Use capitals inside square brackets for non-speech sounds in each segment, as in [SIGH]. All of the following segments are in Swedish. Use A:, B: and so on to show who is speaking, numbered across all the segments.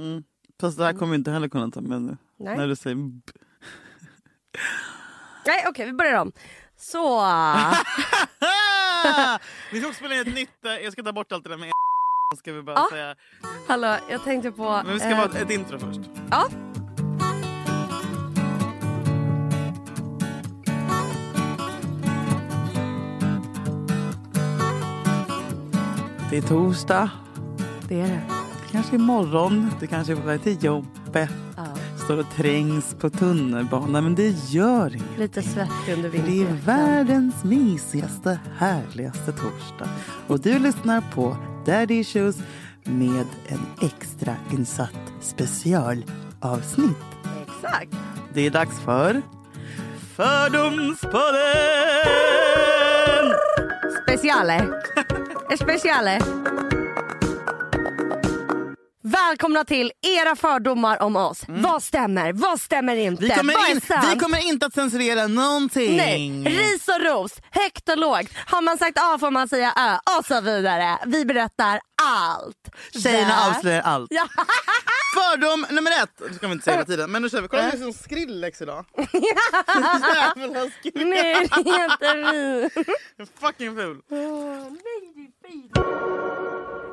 A: Mm. Fast det här kommer jag inte heller kunna ta med nu.
B: Nej,
A: När
B: Nej
A: du säger b-
B: [LAUGHS]
A: [LAUGHS]
B: okej vi börjar om.
A: [LAUGHS]
B: Så.
A: Vi ska också spela in ett nytt, eh, jag ska ta bort allt det där med ska vi bara
B: Ja.
A: säga.
B: Hallå jag tänkte på.
A: Men vi ska
B: eh,
A: ha ett intro först.
B: Ja.
A: Det är torsdag,
B: Det är det.
A: det kanske är morgon, det kanske är på väg till jobbet.
B: Ja.
A: Står och trängs på tunnelbanan, men det gör inget.
B: Lite svettig under
A: Det är
B: vintern.
A: världens mysigaste, härligaste torsdag. Och du lyssnar på Daddy Issues med en extra insatt specialavsnitt.
B: Exakt.
A: Det är dags för Fördomspodden!
B: Speciale. Speciale. Välkomna till era fördomar om oss. Vad stämmer? Vad stämmer inte?
A: Mm. Vi kommer,
B: Vad är
A: in,
B: sant?
A: vi kommer inte att censurera någonting.
B: Nej, ris och ros, högt och lågt. Har man sagt A får man säga Ö och så vidare. Vi berättar allt.
A: Tjejerna
B: Där.
A: avslöjar allt.
B: Ja. [LAUGHS]
A: Fördom nummer ett. Det ska vi inte säga hela tiden. Men nu kör vi. Kolla det är som skrillex idag. [LAUGHS] Jävla skrillex.
B: Nej, det är inte vi.
A: Fucking ful.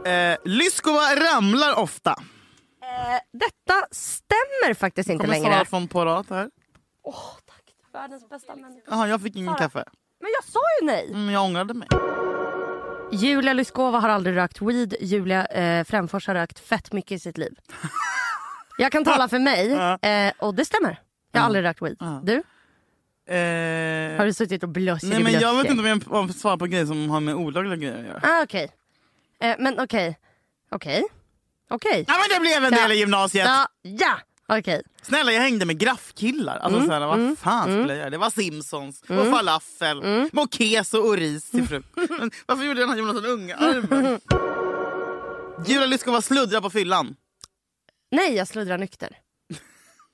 A: Eh, Lyskova ramlar ofta.
B: Eh, Detta stämmer faktiskt inte
A: Kommer
B: längre.
A: Sara från Porat här.
B: Åh, tack. Världens bästa människa.
A: Jaha, jag fick ingen
B: Sara.
A: kaffe.
B: Men jag sa ju nej.
A: Mm, jag ångrade mig.
B: Julia Lyskova har aldrig rökt weed. Julia eh, Fränfors har rökt fett mycket i sitt liv. Jag kan tala för mig eh, och det stämmer. Jag har aldrig rökt
A: Ja.
B: weed. Du?
A: Eh,
B: Har du suttit och blöst?
A: nej, men jag vet inte om jag om- svarar på grejer som har med olagliga grejer att göra.
B: Ah, okej. Eh, men okej. Okej. Okej.
A: Ja, men det blev en del
B: Ja.
A: i gymnasiet.
B: Ja, ja. okej.
A: Snälla jag hängde med graffkillar. Alltså,
B: Mm.
A: såhär, vad fan skulle jag göra? Det var Simpsons, och falafel,
B: Mm.
A: och keso och ris till
B: [LAUGHS]
A: frukost. Men Varför gjorde den här Jonathan Unge-armen? Julia Lyskova sluddrar på fyllan.
B: Nej, jag sluddrar nykter.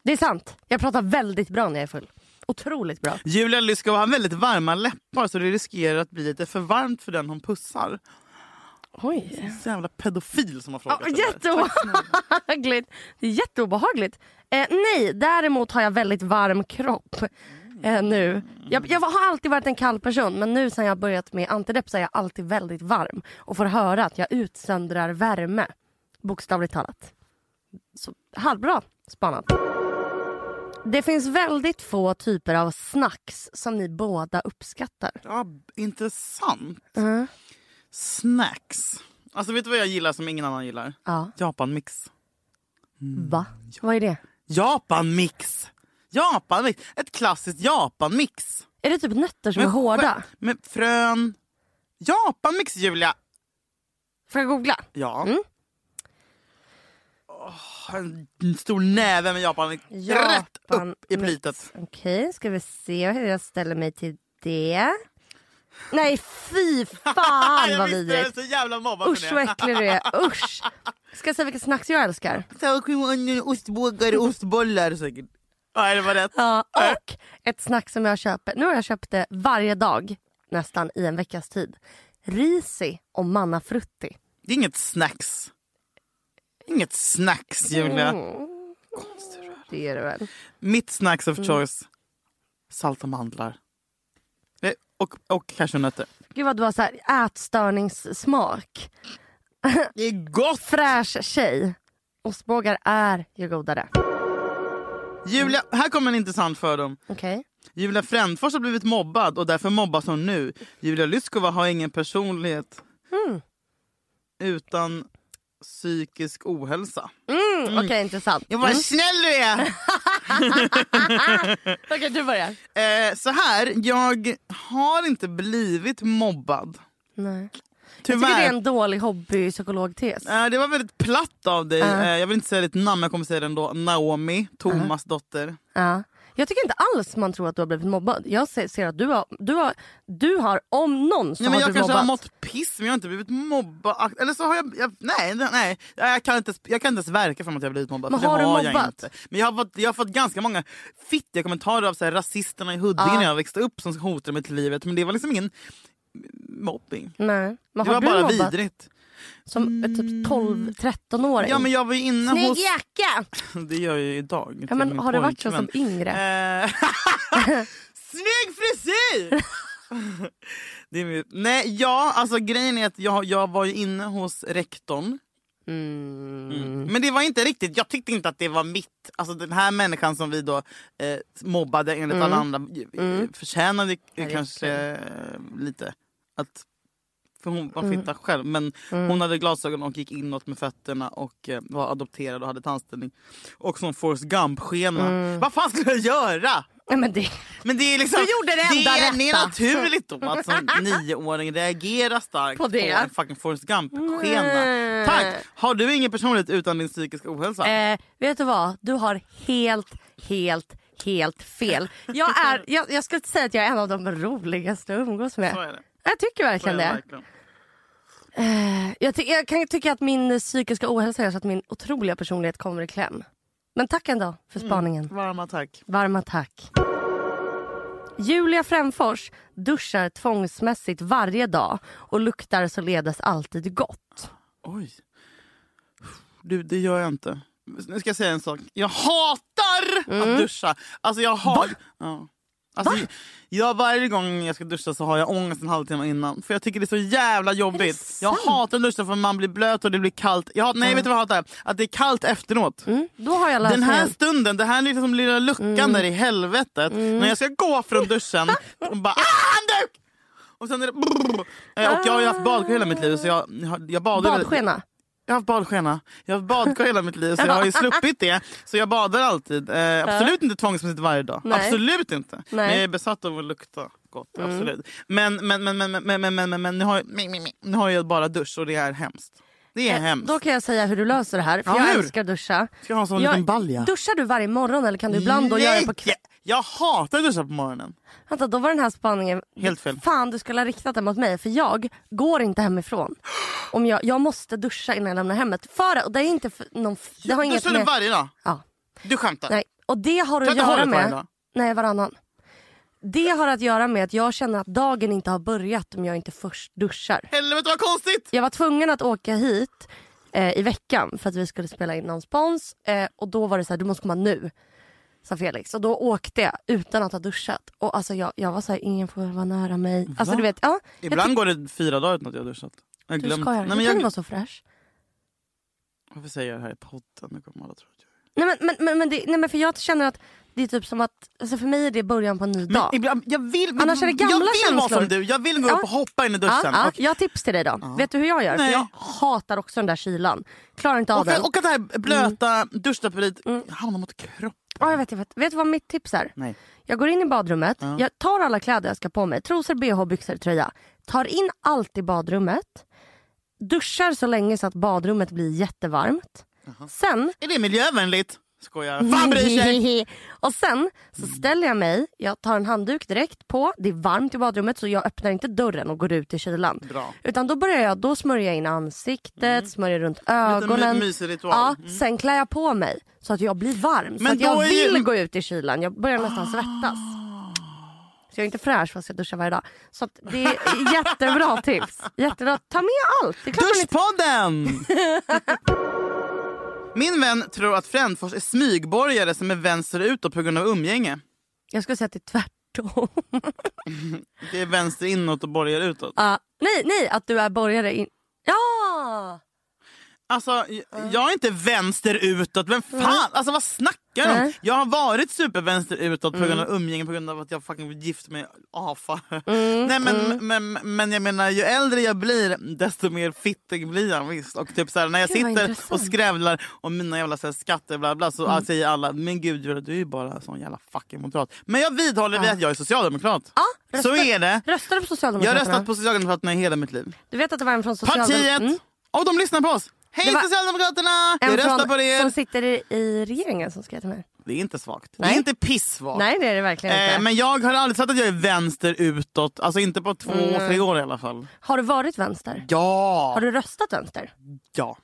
B: Det är sant. Jag pratar väldigt bra när jag är full. Otroligt bra.
A: Julia Lyskova har väldigt varma läppar så det riskerar att bli lite för varmt för den hon pussar.
B: Oj.
A: Så jävla pedofil som har frågat
B: Oh,
A: det där.
B: jätteobehagligt. [LAUGHS] Det är jätteobehagligt. Eh, nej, däremot har jag väldigt varm kropp eh, nu. Jag, jag har alltid varit en kall person men nu sen jag börjat med antidepp så är jag alltid väldigt varm och får höra att jag utsöndrar värme. Bokstavligt talat. Så, halvbra spanat. Det finns väldigt få typer av snacks som ni båda uppskattar.
A: Ja, intressant. Snacks. Alltså vet du vad jag gillar som ingen annan gillar?
B: Ja.
A: Japanmix.
B: Va? Vad är det?
A: Japanmix! Japanmix! Ett klassiskt japanmix.
B: Är det typ nötter som är
A: Men
B: hårda?
A: själv- Men frön... Japanmix, Julia!
B: Får jag googla?
A: Ja.
B: Mm.
A: Åh, en stor näve med japanmix rätt upp i
B: Japanmix.
A: plytet.
B: Okej, ska vi se hur jag ställer mig till det. Nej, fy [LAUGHS] fan vad
A: jag visste, jag är
B: vidrigt.
A: så jävla mobbad
B: Usch vad äcklig du är. Usch. Ska jag säga vilka snacks jag älskar?
A: det. Ostbågar och ostbollar säkert. Nej, Mm. det var rätt.
B: Ja, och ett snack som jag köper. Nu har jag köpt det varje dag nästan i en veckas tid. Risi och mannafrutti.
A: Det är inget snacks. Inget snacks, Julia.
B: Det är det väl?
A: Mitt snacks of choice, salt och mandlar. Eh, Och, och cashewnötter.
B: Gud vad du har så här ätstörningssmak.
A: Det är gott!
B: Fräsch tjej. Ostbågar är ju godare.
A: Julia, här kommer en intressant fördom.
B: Okej.
A: Julia Frändfors har blivit mobbad och därför mobbas hon nu. Julia Lyskova har ingen personlighet Mm. utan psykisk ohälsa. Mm.
B: Mm, Okej, intressant. Mm.
A: Vad snäll du är!
B: Okej, du börjar.
A: Eh, så här, jag har inte blivit mobbad.
B: Nej. Jag tycker det är
A: Tyvärr.
B: en dålig hobbypsykologtes.
A: Eh, det var väldigt platt av dig.
B: Ja.
A: Eh, jag vill inte säga ditt namn, men jag kommer säga det ändå. Naomi, Thomas dotter.
B: Ja. Jag tycker inte alls man tror att du har blivit mobbad. Jag ser, ser att du har, du har, du har om någon så
A: Nej, men
B: har
A: jag
B: du
A: kanske
B: mobbat.
A: har mått piss, men jag har inte blivit mobbad. Ah, Eller så har jag... jag nej, nej, nej. Jag, kan inte, jag kan inte ens verka fram att jag har blivit mobbad.
B: Men
A: för det
B: har du
A: Jag
B: mobbat?
A: inte. Men jag har, fått, jag har fått ganska många fittiga kommentarer av så här, rasisterna i Huddinge
B: Ja.
A: när jag växte upp som hotade mig till livet. Men det var liksom ingen mobbing.
B: Nej. Men
A: Det
B: har
A: var
B: du
A: bara
B: mobbat?
A: vidrigt.
B: Som eh, typ 12-13-åring.
A: Ja men jag var ju inne
B: Snygg
A: hos...
B: jacka!
A: [LAUGHS] Det gör jag ju idag.
B: Ja,
A: till
B: men,
A: min
B: har det varit så
A: pojkvän.
B: som yngre?
A: Eh, [LAUGHS] Snygg frisyr! [LAUGHS] det är mitt. Nej, ja, alltså grejen är att jag, jag var ju inne hos rektorn.
B: Mm.
A: Men det var inte riktigt, jag tyckte inte att det var mitt. Alltså den här människan som vi då eh, mobbade enligt alla andra eh, förtjänade eh,
B: Verkligen.
A: kanske eh, lite att för hon var fitta själv men hon hade glasögon och gick inåt med fötterna och eh, var adopterad och hade tandställning. Och som Forrest Gump-skena. Vad fan skulle jag göra?
B: Nej, men det...
A: Men det är liksom,
B: Du gjorde det enda
A: är- det är
B: rätta.
A: naturligt då att som
B: [LAUGHS]
A: nioåring reagera starkt
B: På
A: på,
B: det.
A: en fucking Forrest Gump-skena.
B: Nej.
A: Tack! Har du ingen personlighet utan din psykiska ohälsa?
B: Eh, vet du vad? Du har helt, helt, helt fel. Jag, är, jag, jag skulle inte säga att jag är en av de roligaste att umgås
A: Så
B: med.
A: är det.
B: Jag tycker
A: Så är
B: verkligen
A: det
B: det.
A: verkligen.
B: Eh, Jag, ty- jag kan ju tycka att min psykiska ohälsa gör så att min otroliga personlighet kommer i kläm. Men tack ändå för
A: Mm.
B: spaningen.
A: Varma tack.
B: Varma tack. Julia Fränfors duschar tvångsmässigt varje dag och luktar således alltid gott.
A: Oj. Du, det gör jag inte. Nu ska jag säga en sak. Jag hatar att duscha. Alltså jag har... Ja. Alltså, jag, varje gång jag ska duscha så har jag ångest en halvtimme innan. För jag tycker det är så jävla jobbigt. Jag hatar att duscha för man blir blöt och det blir kallt. Jag, hat- nej vet du vad jag hatar? Att det är kallt efteråt.
B: Mm, då har jag
A: Den
B: lösningen.
A: här stunden, det här är liksom lilla luckan där i helvetet. När jag ska gå från [LAUGHS] duschen och bara ah, handduk! Och sen är det brrr. Eh, Och jag har ju haft badkar hela mitt liv så jag, jag, jag badar ju-
B: Badskena.
A: jag har haft badskena. Jag har haft badkar hela mitt liv så jag har
B: [LAUGHS]
A: ju sluppit det. Så jag badar alltid. Eh, absolut inte tvångsmässigt varje dag.
B: Nej.
A: Absolut inte. Men jag
B: Nej. Mm.
A: är besatt av att lukta gott. Absolut. Men, men, men, men, men, men, men, men, men, men nu, har, men, men, men, nu har jag bara dusch och det är hemskt. Det är
B: Eh,
A: hemskt.
B: Då kan jag säga hur du löser det här. För
A: Ja,
B: jag
A: hur?
B: älskar att duscha.
A: Ska jag ha en sån
B: Jag-
A: liten balja?
B: Duschar du varje morgon eller kan du ibland då göra det på
A: Nej!
B: kvällen?
A: Jag hatar att duscha på morgonen.
B: Vänta, då var den här spaningen...
A: Helt fel.
B: Fan, du skulle ha riktat den mot mig för jag går inte hemifrån. Om jag, jag måste duscha innan jag lämnar hemmet. För, och det är inte för, någon, det har inget
A: Duschar du
B: med...
A: varje dag?
B: Ja.
A: Du skämtar?
B: Nej, och det har
A: Kan
B: att
A: inte ha
B: göra
A: det varje
B: med...
A: dag?
B: Nej, varannan. Det har att göra med att jag känner att dagen inte har börjat om jag inte först duschar.
A: Helvete vad konstigt!
B: Jag var tvungen att åka hit eh, i veckan för att vi skulle spela in någon spons eh, och då var det så här, du måste komma nu. Sa Felix. Och då åkte jag utan att ha duschat. Och alltså jag, jag var så här, ingen får vara nära mig. Alltså du vet, ja. jag
A: Ibland går det fyra dagar utan att jag har duschat. Jag har
B: tyckte- Du
A: glömt.
B: skojar.
A: Nej, men
B: jag kan
A: jag,
B: vara så fräsch.
A: varför säger jag det här i podden? Nu kommer alla tro att jag
B: Nej men, men, men, men, det, nej, men för jag känner att det är typ som att, alltså för mig är det början på en ny dag.
A: ibland, jag vill, men
B: Annars är det gamla
A: jag vill vara
B: känslor.
A: som du. Jag vill gå
B: Ja.
A: upp och hoppa in i
B: Ja,
A: duschen.
B: ja,
A: och,
B: jag har tips till dig då. Vet du hur jag gör?
A: Nej.
B: För jag hatar också den där kylan. Klarar inte av
A: och,
B: den.
A: och att det här blöta
B: Mm.
A: duschdraperiet hamnar mot kroppen.
B: Ja, jag vet, jag vet. vet du vad mitt tips är?
A: Nej.
B: Jag går in i badrummet, jag tar alla kläder jag ska på mig. Trosor, bh, byxor, tröja. Tar in allt i badrummet. Duschar så länge så att badrummet blir jättevarmt. Sen
A: Är det miljövänligt? Skojar. Fan bryr sig!
B: [LAUGHS] och sen så ställer jag mig, jag tar en handduk direkt på, det är varmt i badrummet så jag öppnar inte dörren och går ut i kylan.
A: Bra.
B: Utan då börjar jag, då smörjer jag in ansiktet, smörjer runt
A: Mm. Lite
B: ögonen.
A: my- mysig ritual.
B: Ja, sen klär jag på mig så att jag blir varm. så
A: Mm. Men
B: att jag
A: då är ju- Ah.
B: vill gå ut i kylan, jag börjar nästan svettas. Så jag är inte fräsch fast jag duschar varje dag. Så att det är
A: [LAUGHS]
B: jättebra tips. Jättebra. Ta med allt. Det är klart man inte... [LAUGHS]
A: Duschpodden! Min vän tror att Frändfors är smygborgare som är vänster utåt på grund av umgänge.
B: Jag skulle säga att det är tvärtom.
A: Det är vänster inåt och borgare utåt.
B: Ja, nej, nej, att du är borgare. In... Ja!
A: Alltså, j- jag är inte vänster utåt. Vem fan? Alltså vad snackar du om?
B: Nej. Mm.
A: Jag har varit supervänster utåt på grund av umgänge, på grund av att jag fucking gift mig avfar. [LAUGHS]
B: Mm,
A: Nej men, men, men jag menar ju äldre jag blir desto mer fittig blir jag visst. Och typ såhär, när jag
B: Gud, vad
A: sitter och
B: intressant. Mm.
A: skrävlar om mina jävla såhär, skatter bla bla så säger alla men gud Julia, du är ju bara en sån jävla fucking moderat. Men jag vidhåller vid att jag är socialdemokrat.
B: Ja,
A: så
B: rösta-
A: är det.
B: Röstar du på
A: Jag
B: Socialdemokraterna?
A: har röstat på Socialdemokraterna i hela mitt liv.
B: Du vet att det var en från Socialdemokraterna?
A: Partiet! Och de lyssnar på oss! Hej
B: Mm. Det var-
A: Socialdemokraterna!
B: En
A: Vi röstar
B: från,
A: på
B: som
A: er!
B: sitter i, i regeringen som skrev till mig.
A: Det är inte svagt. Det
B: Nej.
A: är inte pissvagt.
B: Nej det är det verkligen inte.
A: Eh, men jag har aldrig sagt att jag är vänster utåt. Alltså inte på två, tre år i alla fall.
B: Har du varit vänster?
A: Ja!
B: Mm. Har du röstat vänster?
A: ja.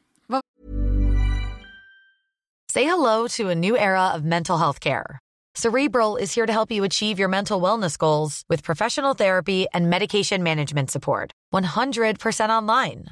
C: Say hello to a new era of mental health care. Cerebral is here to help you achieve your mental wellness goals with professional therapy and medication management support. 100% online.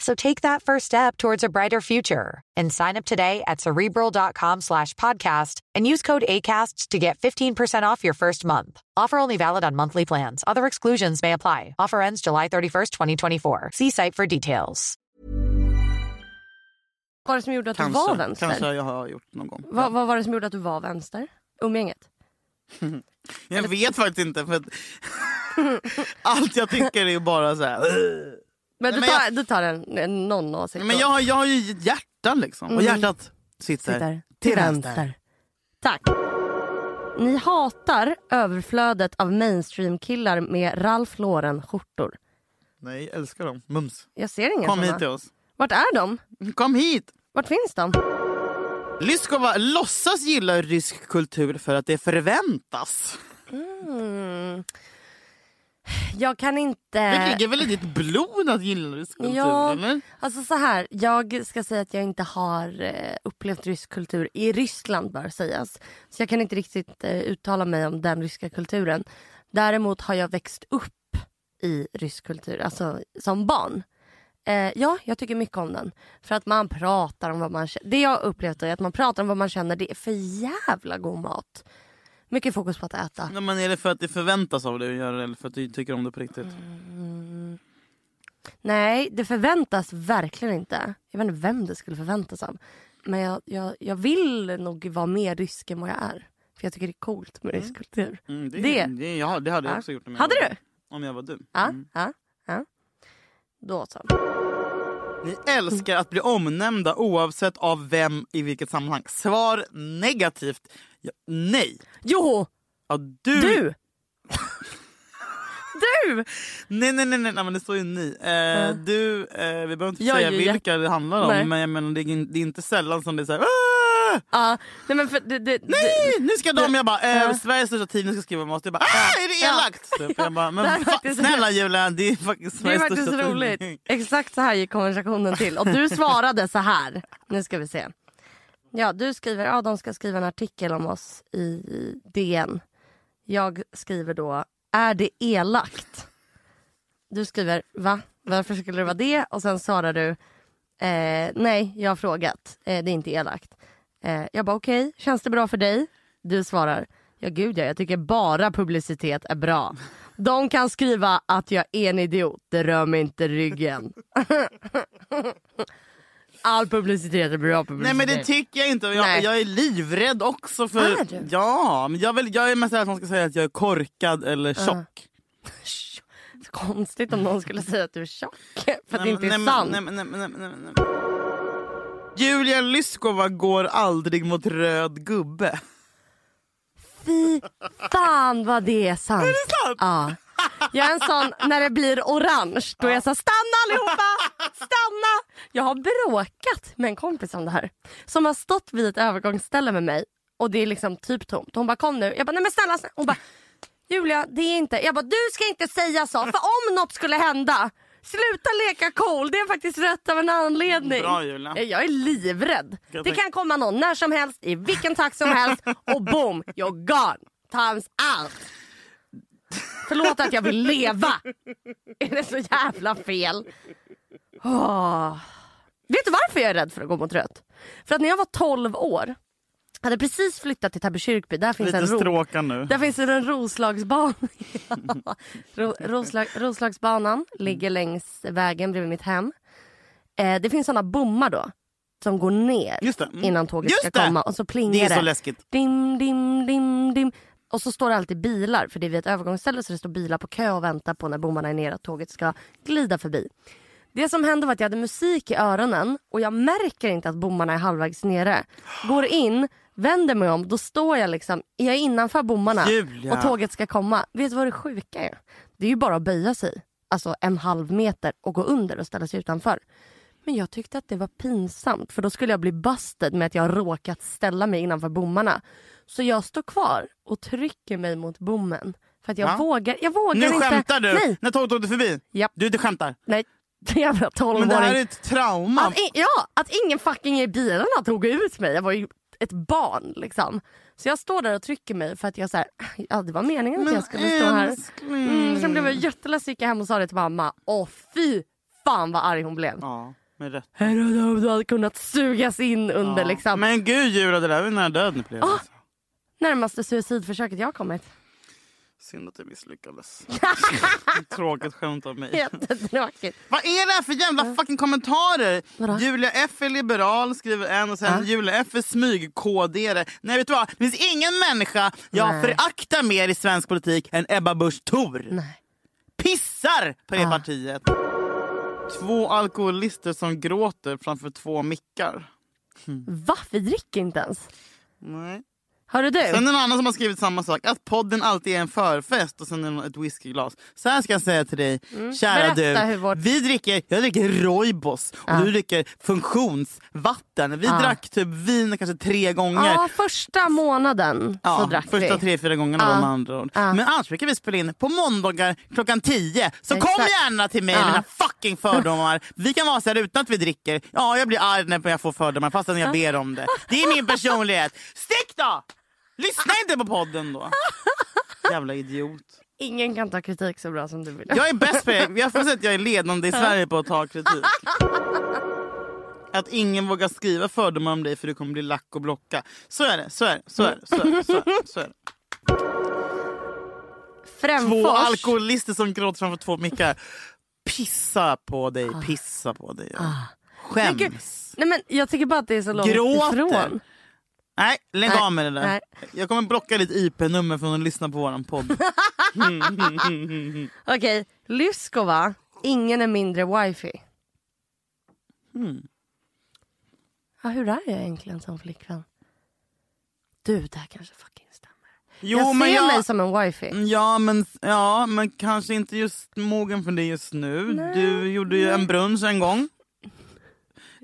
C: So take that first step towards a brighter future and sign up today at cerebral.com slash podcast and use code ACAST to get 15% off your first month. Offer only valid on monthly plans. Other exclusions may apply. Offer ends July 31st, 2024. See site for details.
B: Vad var det som gjorde att du var
A: Kanske,
B: vänster?
A: kanske jag har gjort någon gång.
B: Vad, vad var det som gjorde att du var vänster? Umgänget?
A: Jag vet faktiskt inte. För att
B: [LAUGHS]
A: allt jag tycker är ju bara så här. "Ugh."
B: Men du
A: Nej, men
B: tar, du tar en, en någon åsikt.
A: Men
B: då.
A: jag, har- jag har ju ett hjärta liksom. Och hjärtat sitter,
B: Mm. Sitter till vänster. Tack. Ni hatar överflödet av mainstream-killar med Ralph Lauren-skjortor.
A: Nej, jag älskar dem. Mums.
B: Jag ser inga
A: Kom
B: såna.
A: hit till oss.
B: Vart är de?
A: Kom hit!
B: Vart finns de?
A: Lyskova låtsas gilla rysk kultur för att det förväntas.
B: Jag kan inte...
A: Det ligger väl i ditt blod att gilla rysk kultur?
B: Eh. Ja.
A: Eller?
B: Alltså så här, jag ska säga att jag inte har eh, upplevt rysk kultur i Ryssland bör sägas. Så jag kan inte riktigt eh, uttala mig om den ryska kulturen. Däremot har jag växt upp i rysk kultur, alltså som barn. Eh, ja, jag tycker mycket om den. För att man pratar om vad man känner. Det jag har upplevt är att man pratar om vad man känner. Det är för jävla god mat. Mycket fokus på att äta.
A: Nej, men är det för att det förväntas av dig att göra det eller för att du tycker om det på riktigt?
B: Mm. Nej, det förväntas verkligen inte. Jag vet inte vem det skulle förväntas av. Men jag, jag, jag vill nog vara mer rysk än vad jag är. För jag tycker det är coolt med rysk kultur.
A: Mm,
B: Det-
A: det, ja, det Mm. hade jag
B: Ja.
A: också gjort om jag,
B: Hade
A: var-
B: du?
A: om jag var du.
B: Ja, ja, ja. Då så.
A: Ni älskar att bli omnämnda oavsett av vem i vilket sammanhang. Svar negativt. Ja, nej.
B: Jo,
A: Ja, du.
B: du! [LAUGHS] du!
A: Nej, nej, nej, nej, nej, men det står ju ni. Eh, Du, eh, vi behöver inte
B: Jag är
A: säga
B: ju jätte-
A: vilka det handlar om
B: Nej.
A: men jag menar, det, är, in- det är inte sällan som det är så här. "Ah,
B: Ja, nej men för det... det, det
A: nej, Nu ska de, jag bara, eh,
B: Ja.
A: Sveriges största tidning ska skriva om oss. Jag bara, ah, är det
B: Ja.
A: elakt? Typ. Jag bara,
B: Det här
A: men
B: är
A: fa-
B: faktiskt-
A: snälla Julia, det är faktiskt
B: det är
A: Sveriges
B: faktiskt
A: största
B: roligt.
A: tidning.
B: Exakt så här gick konversationen till. Och du svarade så här. Nu ska vi se. Ja, du skriver att ja, de ska skriva en artikel om oss i DN. Jag skriver då, är det elakt? Du skriver, va? Varför skulle det vara det? Och sen svarar du, eh, nej, jag har frågat. Eh, det är inte elakt. Eh, jag bara, okej, känns det bra för dig? Du svarar, ja gud ja, jag tycker bara publicitet är bra. De kan skriva att jag är en idiot, det rör mig inte ryggen. [LAUGHS] All publicitet är bra publicitet.
A: Nej men det tycker jag inte. Jag,
B: Mm, Nej.
A: jag är livrädd också. För,
B: Är du?
A: Ja, men jag, vill, jag är mest rädd att man ska säga att jag är korkad eller tjock.
B: Så Konstigt om någon skulle säga att du är tjock. För att det
A: Nej,
B: inte är
A: men- nej,
B: sant.
A: men- nej, men- nej, men- nej, men- nej, men. Julia Lyskova går aldrig mot röd gubbe.
B: Fy fan vad det är sant. Är det sant? Ja. Jag är en sån, när det blir orange, då är jag så stanna allihopa! Stanna! Jag har bråkat med en kompis om det här. Som har stått vid ett övergångsställe med mig och det är liksom typ tomt. Hon bara kom nu. Jag bara nej men snälla, snälla. Hon bara Julia det är inte. Jag bara du ska inte säga så för om något skulle hända Sluta leka cool, det är faktiskt rätt av en anledning.
A: Bra, Julia.
B: Jag är livrädd.
A: jag
B: Det
A: tänka-
B: kan komma någon när som helst, i vilken takt som helst och boom, you're gone. Times out. Förlåt att jag vill leva. Är det så jävla fel? Åh. Vet du varför jag är rädd för att gå mot rött? För att när jag var 12 år, hade precis flyttat till Täby där finns
A: Lite
B: en ro-
A: stråkar nu.
B: där finns det en Roslagsbana. [LAUGHS] Ro, Roslag, Roslagsbanan ligger
A: Mm.
B: längs vägen bredvid mitt hem. Eh, det finns såna bommar då som går ner
A: Just det. Mm.
B: innan tåget
A: Just
B: ska
A: det.
B: komma och så plingar
A: Det är så läskigt.
B: Dim, dim, dim, dim. Och så står det alltid bilar, för det är vid ett övergångsställe så det står bilar på kö och väntar på när bommarna är nere att tåget ska glida förbi. Det som hände var att jag hade musik i öronen och jag märker inte att bommarna är halvvägs nere. Går in, vänder mig om, då står jag liksom, jag är innanför bommarna
A: Julia.
B: och tåget ska komma. Vet du vad det sjuka är? Det är ju bara att böja sig, alltså en halv meter och gå under och ställa sig utanför. Men jag tyckte att det var pinsamt för då skulle jag bli busted med att jag råkat ställa mig innanför bommarna. Så jag står kvar och trycker mig mot bommen. För att jag
A: Va?
B: vågar, jag vågar
A: Nu
B: inte.
A: skämtar du!
B: Nej,
A: När tåget åkte förbi.
B: Japp.
A: Du inte skämtar.
B: nej. [LAUGHS] Jävla
A: Men det här
B: tolvåring.
A: är ett trauma.
B: Att, i- ja, att ingen fucking i bilarna tog ut mig. Jag var ju ett barn liksom. Så jag står där och trycker mig för att jag så här, [SNIFFS] ja det var meningen att
A: Men
B: jag skulle stå här.
A: älskling.
B: Mm, sen blev jag jätteledsen gick jag hem och sa det till mamma. Åh fy fan vad arg hon blev.
A: Ja, med rätt.
B: Här hade du hade kunnat sugas in under
A: Ja.
B: liksom Ah!
A: Men gud Jura, det där var ju nära döden upplevelse.
B: närmaste suicidförsöket jag har
A: [LAUGHS]
B: kommit.
A: Synd att det
B: [LAUGHS]
A: misslyckades. Tråkigt skämt av mig.
B: Jättetråkigt.
A: Vad är det här för jävla fucking kommentarer?
B: Vadå?
A: Julia F är liberal skriver en och sen Julia F är smyg-KD-are. Nej vet du vad, det finns ingen människa jag
B: Nej.
A: föraktar mer i svensk politik än Ebba Busch Thor.
B: Nej.
A: Pissar på det
B: Ah.
A: partiet. Två alkoholister som gråter framför två mickar.
B: Va? Vi dricker inte ens.
A: Nej.
B: Hörru du.
A: Sen är det någon annan som har skrivit samma sak. Att podden alltid är en förfest och sen är det ett whiskyglas. Så här ska jag säga till dig, kära
B: Mm. Berätta
A: du.
B: hur vårt-
A: Vi dricker, jag dricker roibos och du dricker funktionsvatten. Vi
B: Ja.
A: drack typ vin kanske tre gånger.
B: Ja, första månaden
A: Ja,
B: så drack
A: första
B: vi.
A: tre, fyra gångerna
B: Ja.
A: var med andra ord.
B: Ja.
A: Men annars brukar vi spela in på måndagar klockan tio. Så
B: Exakt.
A: kom gärna till mig
B: Ja.
A: med dina fucking fördomar. Vi kan vara så här utan att vi dricker. Ja, jag blir arg när jag får fördomar fastän jag ber om det. Det är min personlighet. Stick då! Lyssna inte på podden
B: [LAUGHS]
A: då. Jävla idiot.
B: Ingen kan ta kritik så bra som du vill.
A: Jag är bäst på det. Jag får säga att jag är ledande i Sverige på att ta kritik. Att ingen vågar skriva fördomar om dig för du kommer bli lack och blocka. Så är det, så är det, så är det, så är det. Så är det, så är det. Två
B: Främfors.
A: alkoholister som gråter framför två mickar. Pissa på dig, pissa på dig.
B: Ah. Men gud,
A: Skäms.
B: Nej, men jag tycker bara att det är så långt
A: Gråter.
B: ifrån.
A: Nej, lägg
B: Nej,
A: av med det där.
B: nej.
A: Jag kommer blocka ditt IP-nummer från att lyssna på våran
B: [LAUGHS]
A: podd.
B: Okej, Lyskova. Ingen är mindre wifi.
A: Hmm.
B: Ja, hur är jag egentligen som flickvän? Du, det här kanske fucking stämmer.
A: Jo,
B: jag
A: men
B: ser
A: jag- Mm.
B: mig som en wifi.
A: Ja men, ja, men kanske inte just mogen för det just nu. Du gjorde ju en brunch en gång.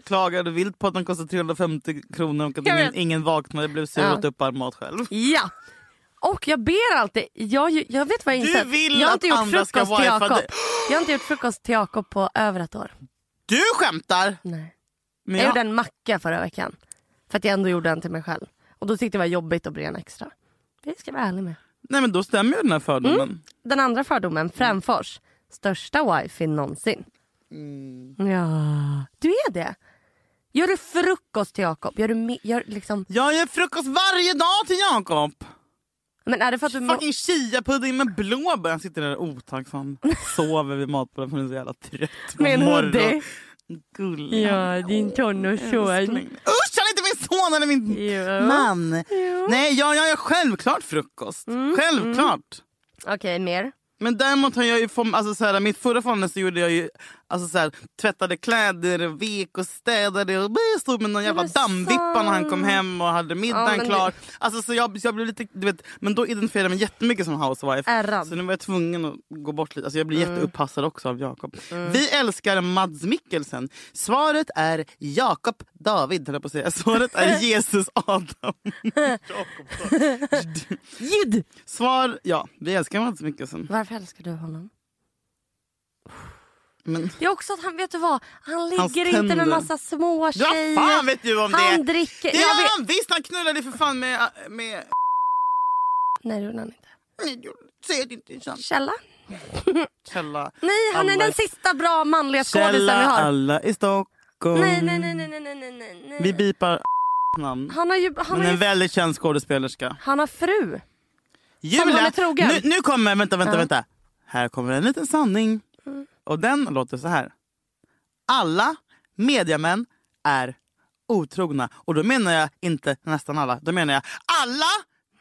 A: Klagade vilt på att den kostade 350 kronor och att
B: Jag
A: ingen,
B: vet.
A: ingen vaknade blev sur
B: Ja.
A: och åt upp all mat själv.
B: Ja. Och jag ber alltid. Jag, jag vet vad jag har
A: Du
B: insett.
A: vill
B: jag har inte
A: att
B: gjort
A: andra ska
B: frukost till
A: wifi
B: Jakob.
A: dig.
B: Jag har inte gjort frukost till Jakob på över ett år.
A: Du skämtar!
B: Nej.
A: Men
B: Jag
A: jag-
B: gjorde en macka förra veckan. För att jag ändå gjorde en till mig själv. Och då tyckte jag det var jobbigt att bre en extra. Det ska jag vara ärlig med.
A: Nej men då stämmer ju den här fördomen.
B: Den andra fördomen, Främfors. Största wifi någonsin.
A: Mm.
B: Ja, du är det. Gör du frukost till Jakob? Gör du me- gör liksom...
A: Jag gör frukost varje dag till Jakob!
B: Men är det för att du... må-
A: Fucking chiapudding med blåbär. Han sitter där otacksam. Sover vid matbordet för han är så jävla trött på
B: Med en
A: morgonen.
B: hoodie.
A: Gullig.
B: Ja, din tonårsson.
A: Älskling. Usch, han är inte min son! Han är min
B: Jo.
A: man. Nej, jag jag gör självklart frukost.
B: Mm.
A: Självklart.
B: Okej, mer.
A: Men däremot har jag ju, form- alltså så här, mitt förra förhållande så gjorde jag ju, alltså så här, tvättade kläder, vek och städade och bara stod med någon jävla
B: det
A: dammvippa när han kom
B: sant?
A: hem och hade
B: Ja,
A: middagen
B: men
A: klar.
B: det-
A: Alltså så jag, så jag blev lite, du vet, men då identifierade jag mig jättemycket som housewife.
B: Ärrad.
A: Så nu var jag tvungen att gå bort lite. Alltså jag blir
B: Mm.
A: jätteuppassad också av Jakob. Vi älskar Mads Mikkelsen. Svaret är Jakob David, höll jag på att säga. Svaret är
B: [LAUGHS]
A: Jesus Adam.
B: Ljud!
A: Svar, ja, vi älskar Mads Mikkelsen.
B: Varför älskar du honom?
A: Men...
B: Det är också att han, vet du vad? Han
A: Hans
B: ligger inte
A: tänder.
B: med massa små
A: Ja,
B: tjejer.
A: fan vet du om det?
B: Han dricker.
A: Det
B: Jag
A: gör
B: vet-
A: han visst! Han knullade för fan med... med...
B: Nej, det gjorde han inte.
A: Säg att det inte är sant.
B: Källa?
A: Källa.
B: Nej, han är
A: alla-
B: den sista bra manliga skådisen vi
A: Källa
B: har.
A: alla i Stockholm.
B: Nej, nej, nej, nej, nej, nej, nej, nej, nej.
A: Vi bipar [LAUGHS] namn.
B: Han har ju... Han
A: Men
B: har,
A: en
B: ju,
A: väldigt känd skådespelerska.
B: han har fru. han
A: Julia!
B: är trogen.
A: Nu, nu kommer... Vänta, vänta, vänta. Här kommer en liten sanning.
B: Mm.
A: Och den låter så här. Alla mediamän är otrogna. Och då menar jag inte nästan alla. Då menar jag alla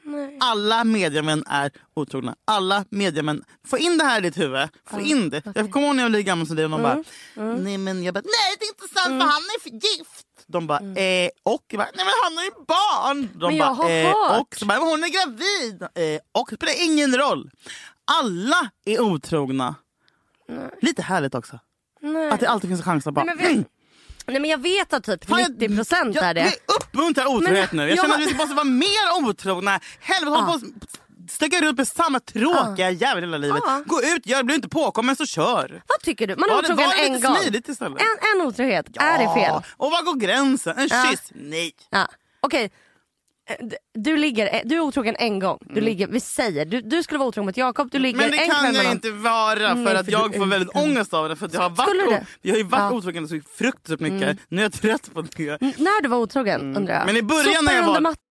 B: Nej.
A: Alla mediamän är otrogna. Alla mediamän. Få in det här i ditt huvud. Få in det. Jag kommer ihåg när jag var lite gammal så det och de
B: Mm,
A: bara, nej men jag bara, nej det är inte sant för han är för gift. De bara, eh, och? Jag bara, nej men han har ju barn. De
B: Mm. Men jag
A: bara,
B: har
A: eh,
B: hört."
A: och? Så bara, men hon är gravid. Eh, och? Det spelar ingen roll. Alla är otrogna. Lite härligt också.
B: Nej.
A: Att det alltid finns en chans att bara, [CLEARS THROAT]
B: Nej, men vet-
A: "Mm,
B: Nej men jag vet att typ
A: Fan, jag-
B: 90 procent
A: jag-
B: är det.
A: Vi uppmuntrar otrohet
B: Men-
A: nu. Jag
B: jag
A: känner
B: var-
A: att vi måste vara mer otrogna. Helvete, håll på och stöka runt med samma tråkiga jävla hela livet.
B: Ja.
A: Gå ut, gör, bli inte påkommen så kör.
B: Vad tycker du? Man är
A: Ja, det
B: otrogen
A: var lite
B: en gång.
A: smidigt istället.
B: En, en otrohet, är det
A: Ja,
B: fel?
A: Och var går gränsen? En
B: Ja.
A: kyss? Nej.
B: Ja. Okej, Eh, d- du, ligger, du är otrogen en gång. Du ligger, vi säger, du, du skulle vara otrogen mot Jakob, du ligger
A: Mm. Men det
B: en
A: kan
B: kväll med
A: jag
B: honom.
A: inte vara för
B: Nej,
A: att
B: för
A: jag
B: du-
A: får väldigt ångest av det. För att jag, har
B: Skulle
A: varit,
B: det?
A: o- jag har ju varit
B: Ja. Mm.
A: otrogen så fruktansvärt mycket. Nu är jag trött på det.
B: N- När du var otrogen undrar jag.
A: Mm. Men i början
B: Sopar
A: när jag
B: under
A: var-
B: mattan.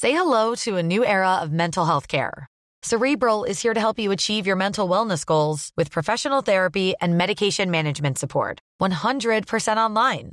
C: Say hello to a new era of mental health care. Cerebral is here to help you achieve your mental wellness goals with professional therapy and medication management support. 100% online.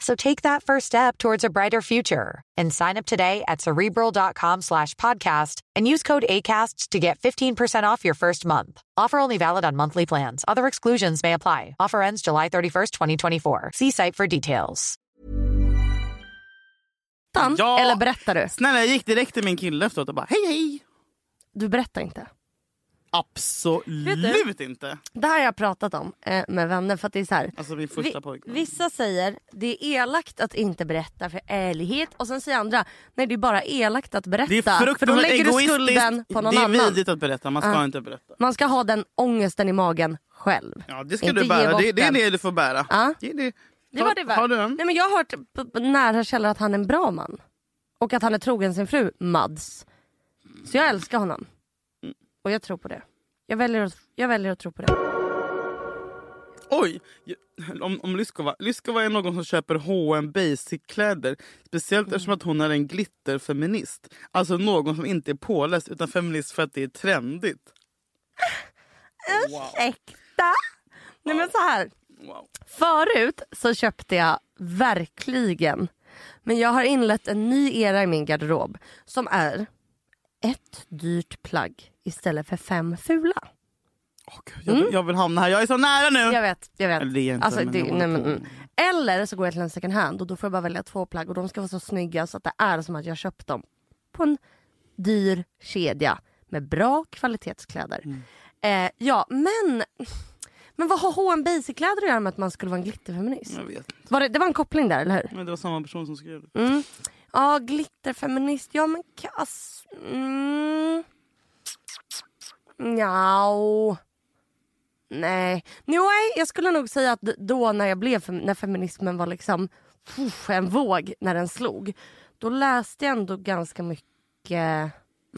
C: So take that first step towards a brighter future and sign up today at cerebral.com slash podcast and use code ACAST to get 15% off your first month. Offer only valid on monthly plans. Other exclusions may apply. Offer ends July 31st, 2024. See site for details.
A: Ja.
B: Eller berättar du?
A: Snälla jag gick direkt till min kille efteråt och bara hej hej.
B: Du berättar inte.
A: Absolut inte.
B: Det här har jag pratat om eh, med vänner för att det är så här.
A: Alltså min första
B: Vi-
A: pojkvän.
B: Vissa säger det är elakt att inte berätta för ärlighet och sen säger andra nej det är bara elakt att berätta
A: Det är
B: för då
A: fruktansvärt
B: lägger du
A: egoistiskt.
B: skulden på någon
A: det är
B: annan.
A: vidrigt att berätta, man ska
B: Ja.
A: inte berätta.
B: Man ska ha den ångesten i magen själv.
A: Ja, det ska
B: Inte
A: du
B: ge
A: bära.
B: bort
A: Det, det är
B: den.
A: det du får bära.
B: Ja.
A: Det, är det.
B: Det var det
A: Har du en?
B: Nej, men jag har hört på- på nära källor att han är en bra man. Och att han är trogen sin fru Mads. Så jag älskar honom. Och jag tror på det. Jag väljer att, jag väljer att tro på det.
A: Oj! Om, om Lyskova. Lyskova är någon som köper H&M basic-kläder. Speciellt
B: Mm.
A: eftersom att hon är en glitterfeminist. Alltså någon som inte är påläst utan feminist för att det är trendigt.
B: Ursäkta? Nej men så här.
A: Wow.
B: Förut så köpte jag verkligen. Men jag har inlett en ny era i min garderob. Som är ett dyrt plagg istället för fem fula.
A: Åh, Gud, jag, jag vill hamna här. Jag är så nära nu!
B: Mm. Jag vet, jag vet.
A: Eller det är inte,
B: alltså,
A: men
B: det,
A: jag
B: nej,
A: håller
B: men,
A: på.
B: mm. Eller så går jag till en second hand och då får jag bara välja två plagg och de ska vara så snygga så att det är som att jag köpt dem på en dyr kedja med bra kvalitetskläder.
A: Mm.
B: Eh, ja, men, men vad har H&M Basic-kläder att göra med att man skulle vara en glitterfeminist?
A: Jag vet.
B: Var det, det var en koppling där, eller hur?
A: Men det var samma person som skrev det.
B: Mm. Ja, glitterfeminist. Ja, men kass... Mm. Njau. Nej. Nej, jag skulle nog säga att då när jag blev fem- när feminismen var liksom puff, en våg när den slog. Då läste jag ändå ganska mycket.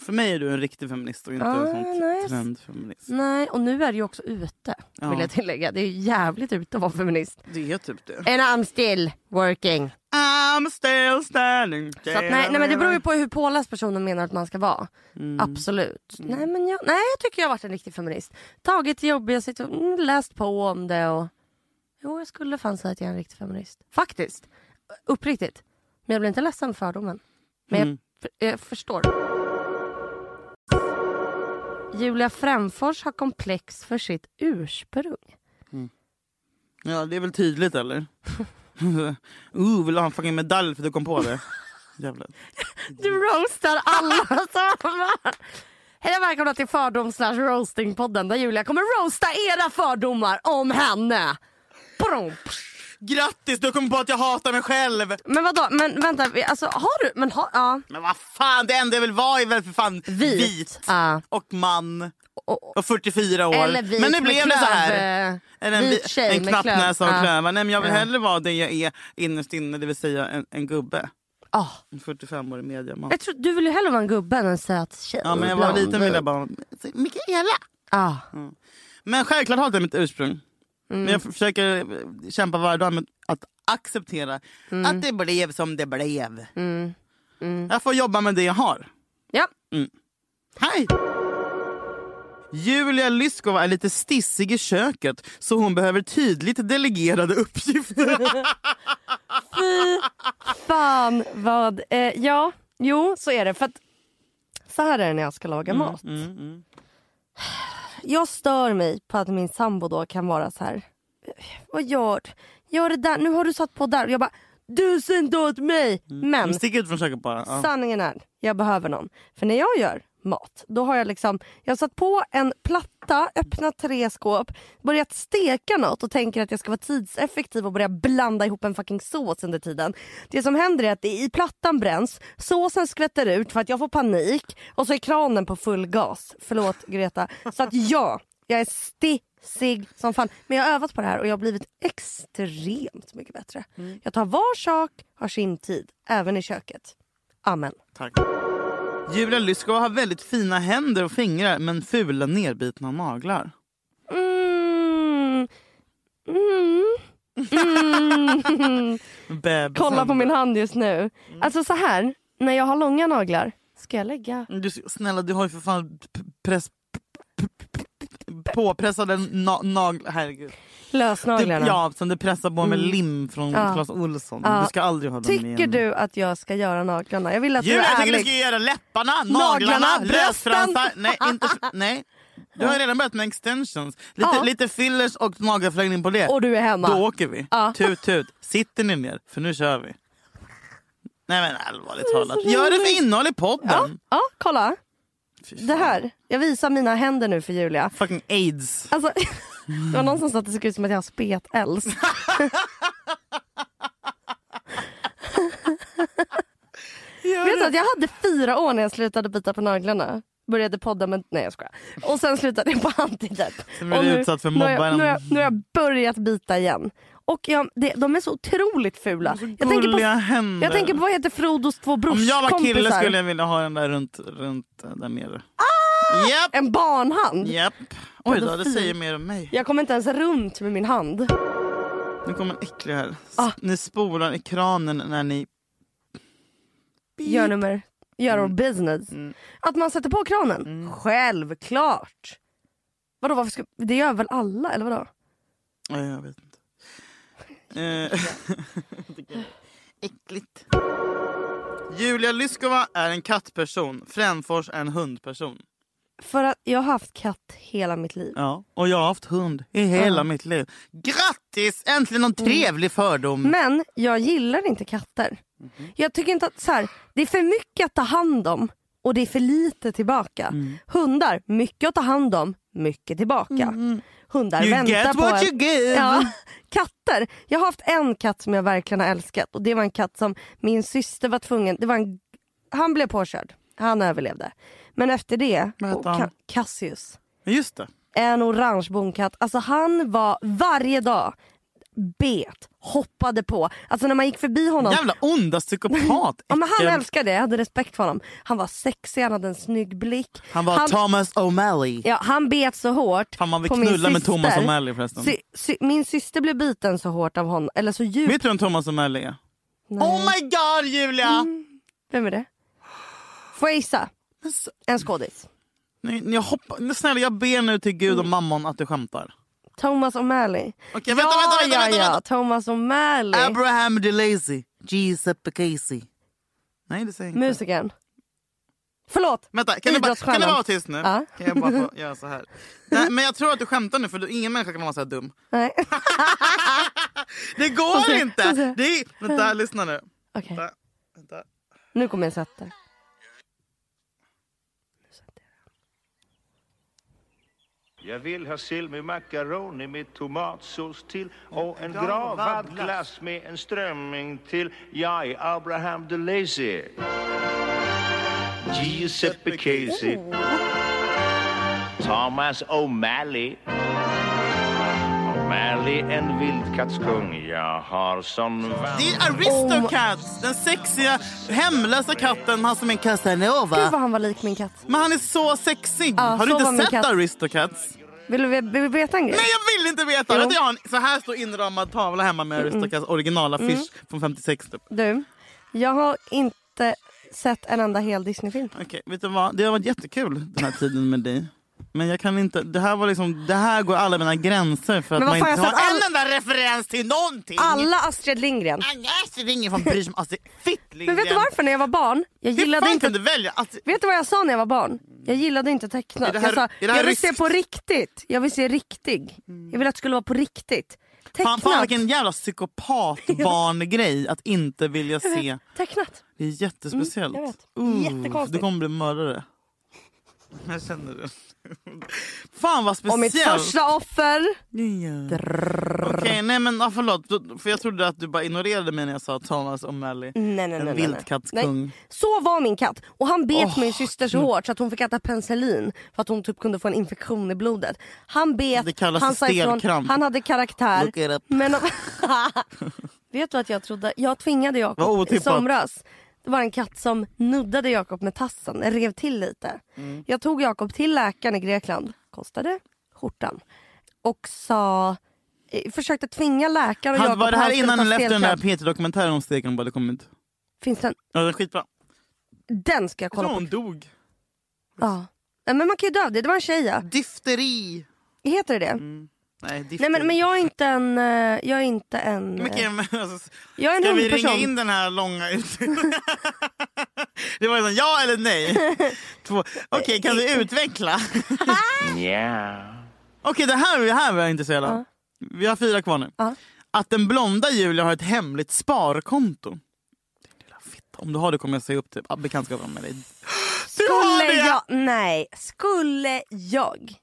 A: För mig är du en riktig feminist och inte
B: Ah,
A: en sån
B: nice.
A: trendfeminist.
B: Nej, och nu är det ju också ute. Vill
A: Ja.
B: jag tillägga. Det är ju jävligt ute att vara feminist.
A: Det är typ det.
B: And I'm still working.
A: I'm still standing.
B: Så att, nej, nej men det beror ju på hur påläst personen menar att man ska vara. Absolut. Nej men jag, nej, jag tycker jag har varit en riktig feminist. Tagit jobbiga situationer, mm, läst på om det och... Jo jag skulle fan säga att jag är en riktig feminist. Faktiskt. Uppriktigt. Men jag blir inte ledsen för fördomen. Men
A: Mm.
B: jag, för- jag förstår. Julia Fränfors har komplex för sitt ursprung.
A: Ja, det är väl tydligt
B: [LAUGHS]
A: eller? uh, vill du ha en fucking medalj för att du kom
B: [LAUGHS]
A: på det? Jävlar.
B: Du roastar alla [LAUGHS] som Hej och välkomna till fördom slash roastingpodden där Julia kommer roasta era fördomar om henne. Brom.
A: Grattis, du kom på att jag hatar mig själv!
B: Men vadå, men vänta, vi- alltså har du, men har, ja.
A: Men vad fan, det enda jag vill vara är väl för fan vit,
B: Ja.
A: och man
B: Och-
A: och 44 år.
B: Eller vit
A: men nu
B: med
A: blev det så här.
B: klöv, eh,
A: Eller en,
B: vit
A: vi-
B: tjej
A: en
B: med klöv.
A: knappnäsa och
B: Ja.
A: klövar. Nej, men jag vill hellre vara det jag är innerst inne, det vill säga en, en gubbe.
B: Ah.
A: En 45-årig mediaman.
B: Jag tror, du vill ju hellre vara en gubbe än en söt tjej.
A: Ja, men jag var
B: Blond.
A: liten ville jag bara... Mikaela!
B: Ja.
A: Men självklart har det mitt ursprung.
B: Mm.
A: Men jag f- försöker eh, kämpa varje dag med att acceptera
B: Mm.
A: att det blev som det blev. Jag får jobba med det jag har.
B: ja.
A: Hej! Julia Lyskova är lite stissig i köket så hon behöver tydligt delegerade
B: [LAUGHS]
A: uppgifter.
B: Fy fan vad... Eh, ja, jo så är det. För att, så här är det när jag ska laga mat. Jag stör mig på att min sambo då kan vara så här. "Eh, Vad gör du? Gör det där. Nu har du satt på där. Och jag bara, du ser inte åt mig. Men
A: Stick ut från köket bara. Ja.
B: sanningen är, jag behöver någon. För när jag gör mat, då har jag liksom, jag har satt på en platta, öppnat tre skåp, börjat steka något och tänker att jag ska vara tidseffektiv och börja blanda ihop en fucking sås under tiden. Det som händer är att det i plattan bränns, såsen skvätter ut för att jag får panik och så är kranen på full gas. Förlåt Greta. Så att ja, jag är stissig som fan. Men jag har övat på det här och jag har blivit extremt mycket bättre. Jag tar var sak, har sin tid, även i köket. Amen.
A: Tack. Julia Lyskova har väldigt fina händer och fingrar men fula nedbitna naglar.
B: Mm. Mm.
A: [LAUGHS] Bebisen.
B: Kolla på min hand just nu.
A: Mm.
B: Alltså så här, när jag har långa naglar ska jag lägga...
A: Du, snälla, du har ju för fan p- press... p- p- p- p- Påpressade na- naglar. Herregud. Du,
B: Lösnaglarna.
A: ja, som du pressar på med lim från
B: Mm. Ja.
A: Clas Ohlson.
B: Ja.
A: Du ska aldrig ha dem
B: Tycker
A: igen.
B: du att jag ska göra naglarna? Jag vill att
A: Julia,
B: du är
A: jag tycker du
B: ärlig.
A: ska göra läpparna,
B: Naglarna,
A: naglarna,
B: brösten.
A: lösfransar.
B: [LAUGHS]
A: Nej, inte, nej. Du har ju redan börjat med extensions. Lite,
B: Ja.
A: lite fillers och nagelförlängning på det.
B: Och du är hemma.
A: Då åker vi.
B: Ja.
A: Tut tut. Sitter ni ner? För nu kör vi. Nej men allvarligt talat. Gör det för innehåll i podden.
B: Ja, kolla.
A: Fy fan.
B: Det här. Jag visar mina händer nu för Julia.
A: Fucking aids.
B: Alltså, [LAUGHS] det var någon som sa att det såg ut som att jag har spetälls.
A: [LAUGHS]
B: Vet du att jag hade fyra år när jag slutade bita på naglarna. Började podda med... Nej jag skojar. Och sen slutade jag på antidepp.
A: Sen blev
B: Och
A: du utsatt för
B: nu har jag-
A: mobbaren.
B: Nu har jag, nu har jag börjat bita igen. Och jag, det, de är så otroligt fula. Jag tänker,
A: Gulliga
B: på,
A: händer.
B: jag tänker på vad heter Frodos två
A: Om jag var
B: brorskompisar?
A: kille skulle jag vilja ha den där runt, runt eh, där nere.
B: Ah!
A: Japp,
B: En barnhand.
A: japp. Oj då, det
B: Pedofil.
A: säger mer om mig.
B: Jag kommer inte ens runt med min hand.
A: Nu kommer en äcklig här. S-
B: Ah.
A: Ni spolar i kranen när ni...
B: Gör nummer, gör our business. Att man sätter på kranen? Självklart! Vadå, varför ska, det gör väl alla eller vadå?
A: Nej, jag vet inte. Eh, [LAUGHS] Äckligt. Julia Lyskova är en kattperson, Fränfors är en hundperson.
B: För att jag har haft katt hela mitt liv.
A: Ja, och jag har haft hund i hela
B: Ah.
A: mitt liv. Grattis! Äntligen någon
B: Mm.
A: trevlig fördom.
B: Men jag gillar inte katter.
A: Mhm.
B: Jag tycker inte att så här, det är för mycket att ta hand om och det är för lite tillbaka.
A: Mm.
B: Hundar, mycket att ta hand om, mycket tillbaka. Hundar
A: Mm. You
B: väntar
A: get
B: på
A: what
B: en.
A: you give.
B: Ja, katter. Jag har haft en katt som jag verkligen har älskat och det var en katt som min syster var tvungen, det var en, han blev påkörd, han överlevde. Men efter det,
A: Vad hette
B: och
A: han?
B: Ca- Cassius,
A: Men Just det.
B: en orange bonkatt, alltså han var varje dag bet, hoppade på. Alltså när man gick förbi honom
A: Jävla onda psykopat.
B: Ja, men han
A: Äckel.
B: älskade det, jag hade respekt för honom. Han var sexig, han hade en snygg blick.
A: han var Thomas O'Malley.
B: ja, han bet så hårt
A: Fan, man vill
B: på min
A: knulla med
B: syster.
A: Thomas O'Malley förresten.
B: Sy, sy, min syster blev biten så hårt av honom, eller så djupt.
A: Vet du vem Thomas O'Malley är?
B: Nej. Mm.
A: Oh my god Julia!
B: Vem är det? Får jag gissa?
A: Men så-
B: En skådis.
A: Nej, jag hoppa, nu snälla jag ber nu till gud
B: Mm.
A: och mammon att du skämtar.
B: Thomas O'Malley.
A: Okej, vänta,
B: ja,
A: vänta,
B: ja,
A: vänta,
B: ja.
A: vänta.
B: Thomas O'Malley.
A: Abraham DeLacy. Giuseppe Casey. Nej det säger jag inte.
B: Musikern. Förlåt.
A: Vänta, kan du, bara, kan du
B: Idrottsstjärnan.
A: bara vara tyst nu?
B: Ja.
A: Kan jag bara få göra så här? Nej, men jag tror att du skämtar nu för du, ingen människa kan vara så här dum.
B: Nej.
A: Det går
B: se, får
A: inte!
B: se.
A: Det är, vänta, lyssna nu.
B: Okej,
A: Vänta, vänta.
B: nu kommer jag sätta.
D: Jag vill ha sill med makaroner med tomatsås till och en gravad glass med en strömming till. Jag är Abraham DeLacy. Giuseppe Casey. Thomas O'Malley. O'Malley, en vildkattskung. Jag har sån
A: Det
D: vandring.
A: är Aristocats! Den sexiga, hemlösa katten, han som är en
B: Gud
A: Casanova.
B: vad han var lik min katt.
A: Men han är så sexig!
B: Ja,
A: Har du
B: så var min
A: inte sett
B: katt.
A: Aristocats?
B: Vill du, vill du veta en grej?
A: Nej jag vill inte veta!
B: Jo.
A: Vet du, jag har en så här stor inramad tavla hemma med Aristocats
B: Mm.
A: originalaffisch från 56 typ.
B: Du, jag har inte sett en enda hel Disney-film.
A: Okej, vet du vad? Det har varit jättekul den här tiden med dig. Men jag kan inte, det här var liksom, det här går alla mina gränser för att
B: Men
A: man
B: vad fan,
A: inte
B: jag
A: har
B: satt all-
A: en enda referens till någonting.
B: Alla Astrid Lindgren.
A: Annars är det ingen som bryr sig om Astrid Fittlingen.
B: Men vet du varför när jag var barn? Jag
A: Hur
B: gillade
A: fan
B: inte...
A: kunde du välja Alltså, Astrid?
B: Vet du vad jag sa när jag var barn? Jag gillade inte tecknat.
A: Är det här-
B: jag sa,
A: är det här
B: jag vill se
A: ryskt?"
B: på riktigt. Jag vill se riktig. Jag vill att det skulle vara på riktigt.
A: Fan,
B: Tecknat.
A: fan vilken jävla psykopatbarngrej att inte vilja se.
B: Tecknat.
A: Det är jättespeciellt.
B: Mm, jag vet.
A: Uh,
B: Jättekonstigt.
A: Du kommer bli mördare. Jag känner det. Fan vad
B: Och
A: speciellt.
B: mitt första offer.
A: Ja. Okej, nej men ah, förlåt. Då- För jag trodde att du bara ignorerade mig när jag sa Thomas O'Malley.
B: Nej, nej,
A: en
B: nej, nej, nej.
A: vildkattskung.
B: Nej. Så var min katt. Och han bet
A: Åh.
B: min syster så hårt så att hon fick äta penicillin för att hon typ kunde få en infektion i blodet. Han bet,
A: Det kallas
B: han sa ifrån,
A: stelkramp.
B: han hade karaktär.
A: Look it up. [LAUGHS]
B: Men [LAUGHS] Vet du att jag trodde, jag tvingade
A: Vad
B: Jakob i
A: otippat.
B: somras. Det var en katt som nuddade Jakob med tassen, rev till lite.
A: Mm.
B: Jag tog Jakob till läkaren i Grekland, kostade skjortan. Och sa, eh, försökte tvinga läkaren och
A: Han,
B: Jakob
A: var det
B: han
A: här
B: skulle
A: innan
B: ta
A: eller efter den där
B: stelkramp.
A: P3-dokumentären om Stekon hade kommit?
B: Finns den?
A: Ja, den är skitbra.
B: Den ska jag
A: Jag
B: kolla
A: tror
B: på.
A: hon dog.
B: Ja. Nej, Men man kan ju dö av det. Det var en tjej ja.
A: Difteri.
B: Heter det det?
A: Mm, Nej, difteri.
B: Nej men, men jag är inte en... eh, Jag är inte en... eh,
A: Okej, men [LAUGHS] alltså,
B: Jag är en
A: Ska vi ringa
B: hundperson.
A: in den här långa utredningen? [LAUGHS] Det var liksom ja eller
B: [LAUGHS]
A: nej. Två. Okej, kan du utveckla?
D: Nja.
A: Okej, det här, det här var jag intresserad av.
B: Ja.
A: Vi har fyra kvar nu.
B: Ja.
A: Att den blonda Julia har ett hemligt sparkonto. Din lilla fitta. Om du har det kommer jag säga upp typ, bekantskapen med dig. Du har
B: Skulle
A: det!
B: jag... Nej. Skulle jag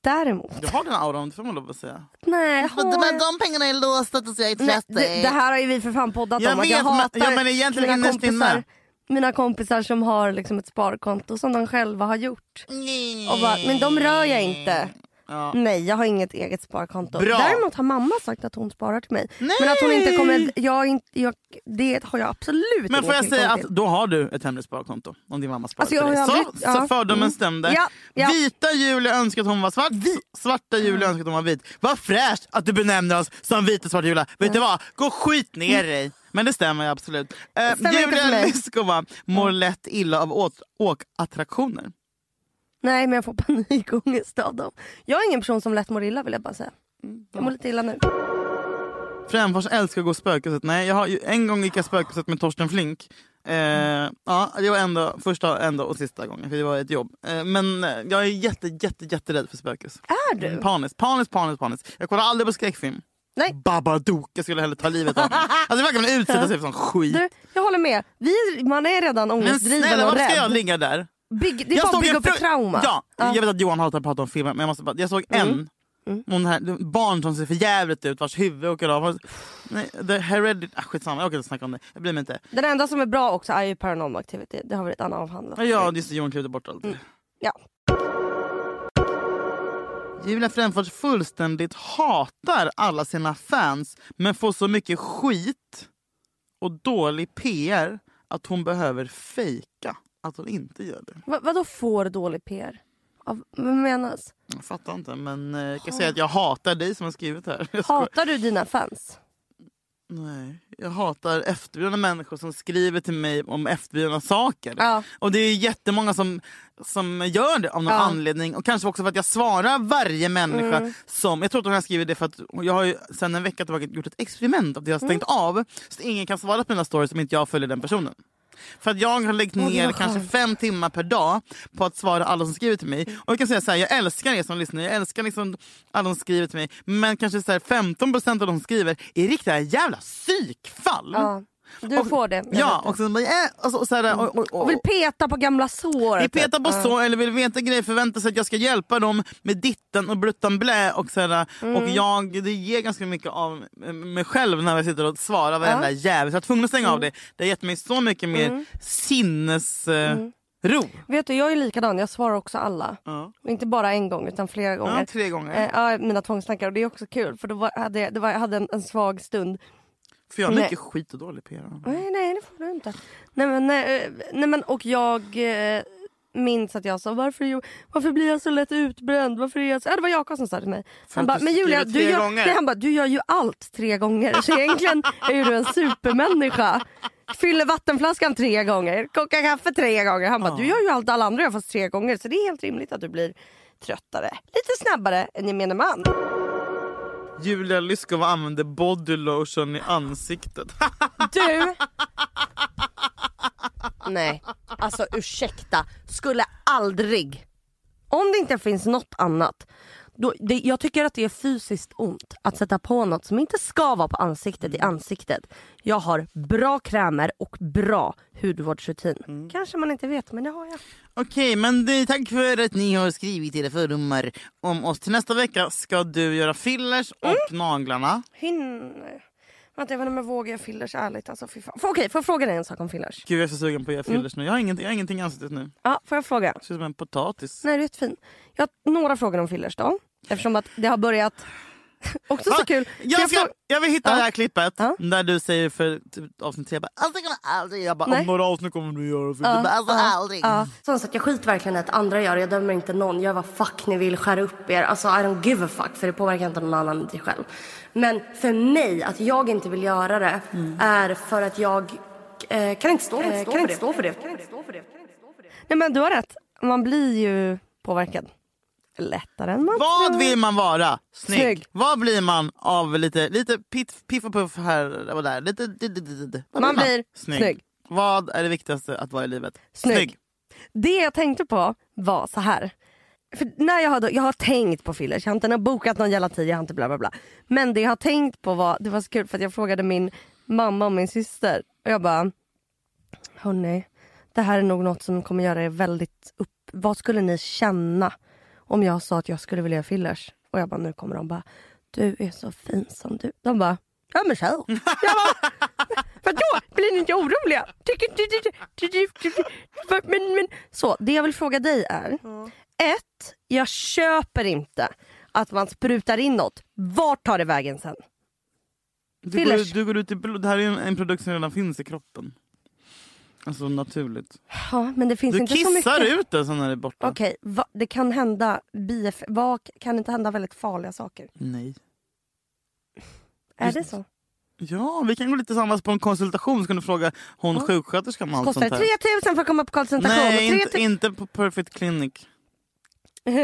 B: däremot...
A: Du har den auran, det får man lov att säga.
B: Nej, har jag...
A: de pengarna är låsta tills jag är
B: Nej, det, det här har ju vi för fan poddat
A: Jag
B: om. att jag
A: vet, men-
B: hatar
A: ja, men egentligen
B: mina,
A: innerst inne.
B: kompisar, mina kompisar som har liksom ett sparkonto som de själva har gjort. Och bara, men de rör jag inte.
A: Ja.
B: Nej, jag har inget eget sparkonto.
A: Bra.
B: Däremot har mamma sagt att hon sparar till mig.
A: Nej.
B: Men att hon inte kommer... Jag, är inte- jag, det har jag absolut
A: Men får jag
B: tillgång
A: säga att
B: till.
A: då har du ett hemligt sparkonto om din mamma sparar
B: Alltså, jag
A: till dig.
B: har
A: Så,
B: aldrig- ja.
A: så fördomen
B: Mm.
A: stämde.
B: Ja, ja. Mm.
A: Vita Julia önskar att hon var svart. Svarta Julia önskar att hon var vit. Vad fräscht att du benämner oss som vita svarta Julia. Vet du vad? Gå skit ner dig. Men det stämmer ju absolut. Eh,
B: Mm. stämmer inte för
A: Julia
B: mig. Mm.
A: Lyskova mår lätt illa av åt- åkattraktioner.
B: Nej, men jag får panikångest av dem. Jag är ingen person som lätt mår illa vill jag bara säga.
A: Mm,
B: Jag mår lite illa nu.
A: Främfors älskar att gå spökhuset. Nej, jag har, ju- en gång gick jag spökhuset med Torsten Flink. Eh, ja, det var enda, första, enda och sista gången, för det var ett jobb. Eh, men eh, jag är jätte, jätte, jätterädd för spökhus.
B: Är du?
A: Panis, panis, panis, panis. Jag kollar aldrig på skräckfilm.
B: Nej.
A: Babadook, jag skulle hellre ta livet
B: [LAUGHS]
A: av mig. Alltså det verkar man utsätta sig för sån skit.
B: Du, jag håller med. Vi, man är redan
A: men
B: ångestdriven
A: snälla
B: och
A: varför ska jag
B: rädd.
A: ligga där?
B: Bygg, det är bara att
A: såg
B: bygga
A: en
B: upp ett
A: fru-
B: trauma. Mm.
A: Ja, jag vet att Johan hatar att prata om filmer men jag måste bara, jag såg en. Hon här, barn som ser för jävligt ut vars huvud åker av. Nej, the heredit, ah, skitsamma jag orkar inte snacka om det. Jag blir inte.
B: Den enda som är bra också är ju paranormal activity. Det har vi redan avhandlat.
A: Ja just det, Johan klivde bort allt.
B: Mm. Ja.
A: Julia Fränfors fullständigt hatar alla sina fans men får så mycket skit och dålig PR att hon behöver fejka att hon inte gör det.
B: Va, vadå får dålig PR? Av, vad menas?
A: Jag fattar inte men eh, jag kan säga att jag hatar dig som har skrivit det här. Jag skojar.
B: Hatar du dina fans?
A: Nej, jag hatar efterblivna människor som skriver till mig om efterblivna saker.
B: Ja.
A: Och det är ju jättemånga som, som gör det av någon
B: Ja. Mm.
A: anledning. Och kanske också för att jag svarar varje människa som... Jag tror att hon har skrivit det för att jag har ju sedan en vecka tillbaka gjort ett experiment. Att jag har stängt
B: Mm.
A: av så att ingen kan svara på mina stories om inte jag följer den personen. För att jag har lagt
B: Åh, det
A: ner
B: var
A: kanske
B: skönt. Mm.
A: fem timmar per dag på att svara alla som skriver till mig. Och jag kan säga så här, jag älskar er som lyssnar, jag älskar liksom alla som skriver till mig. Men kanske så här, 15% av de som skriver är riktiga jävla psykfall.
B: Ja. Du
A: Och-
B: får det.
A: Ja,
B: jag vet det. Mm.
A: och, sen, bara, äh, och, så, och, så här, och, och,
B: Och vill peta på gamla sår.
A: vill peta på
B: typ.
A: så eller vill veta grejer förväntar sig att jag ska hjälpa dem med ditten och bruttan blä. Och, så här, och jag, det ger ganska mycket av eh, mig själv när jag sitter och svarar varenda jävel. Så jag var tvungen att stänga av det. Det har gett mig så mycket mer sinnesro.
B: Ja. Vet du, jag är likadan. Jag svarar också alla.
A: Ja.
B: Och Inte bara en gång utan flera gånger.
A: Ja, tre gånger.
B: Eh, ja, mina tvångstankar. Och det är också kul för då var, hade jag, det var, jag hade en, en svag stund.
A: För jag har mycket
B: Nej.
A: skit och dålig PR.
B: Nej, nej det får du inte. Nej men, nej, eh, nej, men och jag eh, minns att jag sa varför, är jag- varför blir jag så lätt utbränd? Varför är jag så... Ja, det var Jakob som sa till mig. Han
A: att
B: bara,
A: du
B: men Julia
A: skriver
B: du
A: tre
B: gör...
A: gånger."
B: Nej, han bara, du gör ju allt tre gånger så egentligen är ju du en supermänniska. Fyller vattenflaskan tre gånger, kokar kaffe tre gånger. Han bara,
A: Ja.
B: du gör ju allt alla andra gör fast tre gånger. Så det är helt rimligt att du blir tröttare. Lite snabbare än gemene man.
A: Julia Lyskova använde body lotion i ansiktet.
B: Du! Nej, alltså ursäkta. Skulle aldrig. Om det inte finns något annat. Då, det, jag tycker att det är fysiskt ont att sätta på något som inte ska vara på ansiktet i ansiktet. Jag har bra krämer och bra hudvårdsrutin. Kanske man inte vet men det har jag.
A: Okej, men det, tack för att ni har skrivit era fördomar om oss. Till nästa vecka ska du göra fillers och naglarna.
B: Hinner. Vänta jag vet inte om jag vågar fillers ärligt. Alltså, fy fan. Får- Okej, får jag fråga dig en sak om fillers?
A: Gud, jag är så sugen på att göra
B: Mm.
A: fillers nu. Jag har, ingenting, jag har ingenting i ansiktet nu.
B: Ja, får jag fråga?
A: Ser ut som en potatis.
B: Nej, det är jättefin. Jag har några frågor om fillers då. Eftersom att det har börjat... [LAUGHS] Också så
A: Ah,
B: kul. Ska
A: Jag, ska,
B: fråga-
A: jag vill hitta
B: Ja.
A: det här klippet
B: Ja.
A: där du säger för typ, avsnitt tre. Bara, alltså, jag kommer aldrig. Jag bara,
B: Nej.
A: om några avsnitt kommer du göra fillers. Du bara, alltså, aldrig.
B: Ja. Som sagt, jag skiter verkligen i att andra gör det. Jag dömer inte någon. Gör vad fuck ni vill. Skär upp er. Alltså, I don't give a fuck. För det påverkar inte någon annan än dig själv. Men för mig, att jag inte vill göra det är för att jag eh, Mm. kan inte stå för det. Kan inte stå för det. Nej, men du har rätt. Man blir ju påverkad. Lättare än man
A: Vad vill man vara? Snygg.
B: Snygg.
A: Vad blir man av lite, lite piff, piff och puff här och där? Lite, d- d- d- d- Vad
B: Man blir snygg.
A: Vad är det viktigaste att vara i livet?
B: Snygg. Det jag tänkte på var så här. För när jag, hade, jag har tänkt på fillers, jag har inte bokat någon jävla tid, jag har inte bla bla bla. Men det jag har tänkt på var, det var så kul för att jag frågade min mamma och min syster och jag bara Hörni, det här är nog något som kommer göra er väldigt upp... Vad skulle ni känna om jag sa att jag skulle vilja göra fillers? Och jag bara, nu kommer de bara, du är så fin som du. De bara, ja men tjej. Jag bara, vadå? Blir ni inte oroliga? Men, men. Så, det jag vill fråga dig är. Ett, jag köper inte att man sprutar in något. Vart tar det vägen sen?
A: Du går,
B: Fillers.
A: ut- du går ut i blod. Det här är en, en produkt som redan finns i kroppen. Alltså naturligt.
B: Ja, men det finns
A: Du
B: inte så mycket.
A: kissar ut den sen när det är borta.
B: Okej, va, det kan hända bief, va, kan inte hända väldigt farliga saker?
A: Nej.
B: Är det så?
A: Ja, vi kan gå lite tillsammans på en konsultation så kan du fråga hon sjuksköterskan om allt
B: Kostar
A: sånt
B: det
A: här.
B: 3000 för att komma på konsultation?
A: Nej,
B: och
A: inte, inte på Perfect Clinic.
B: Eh,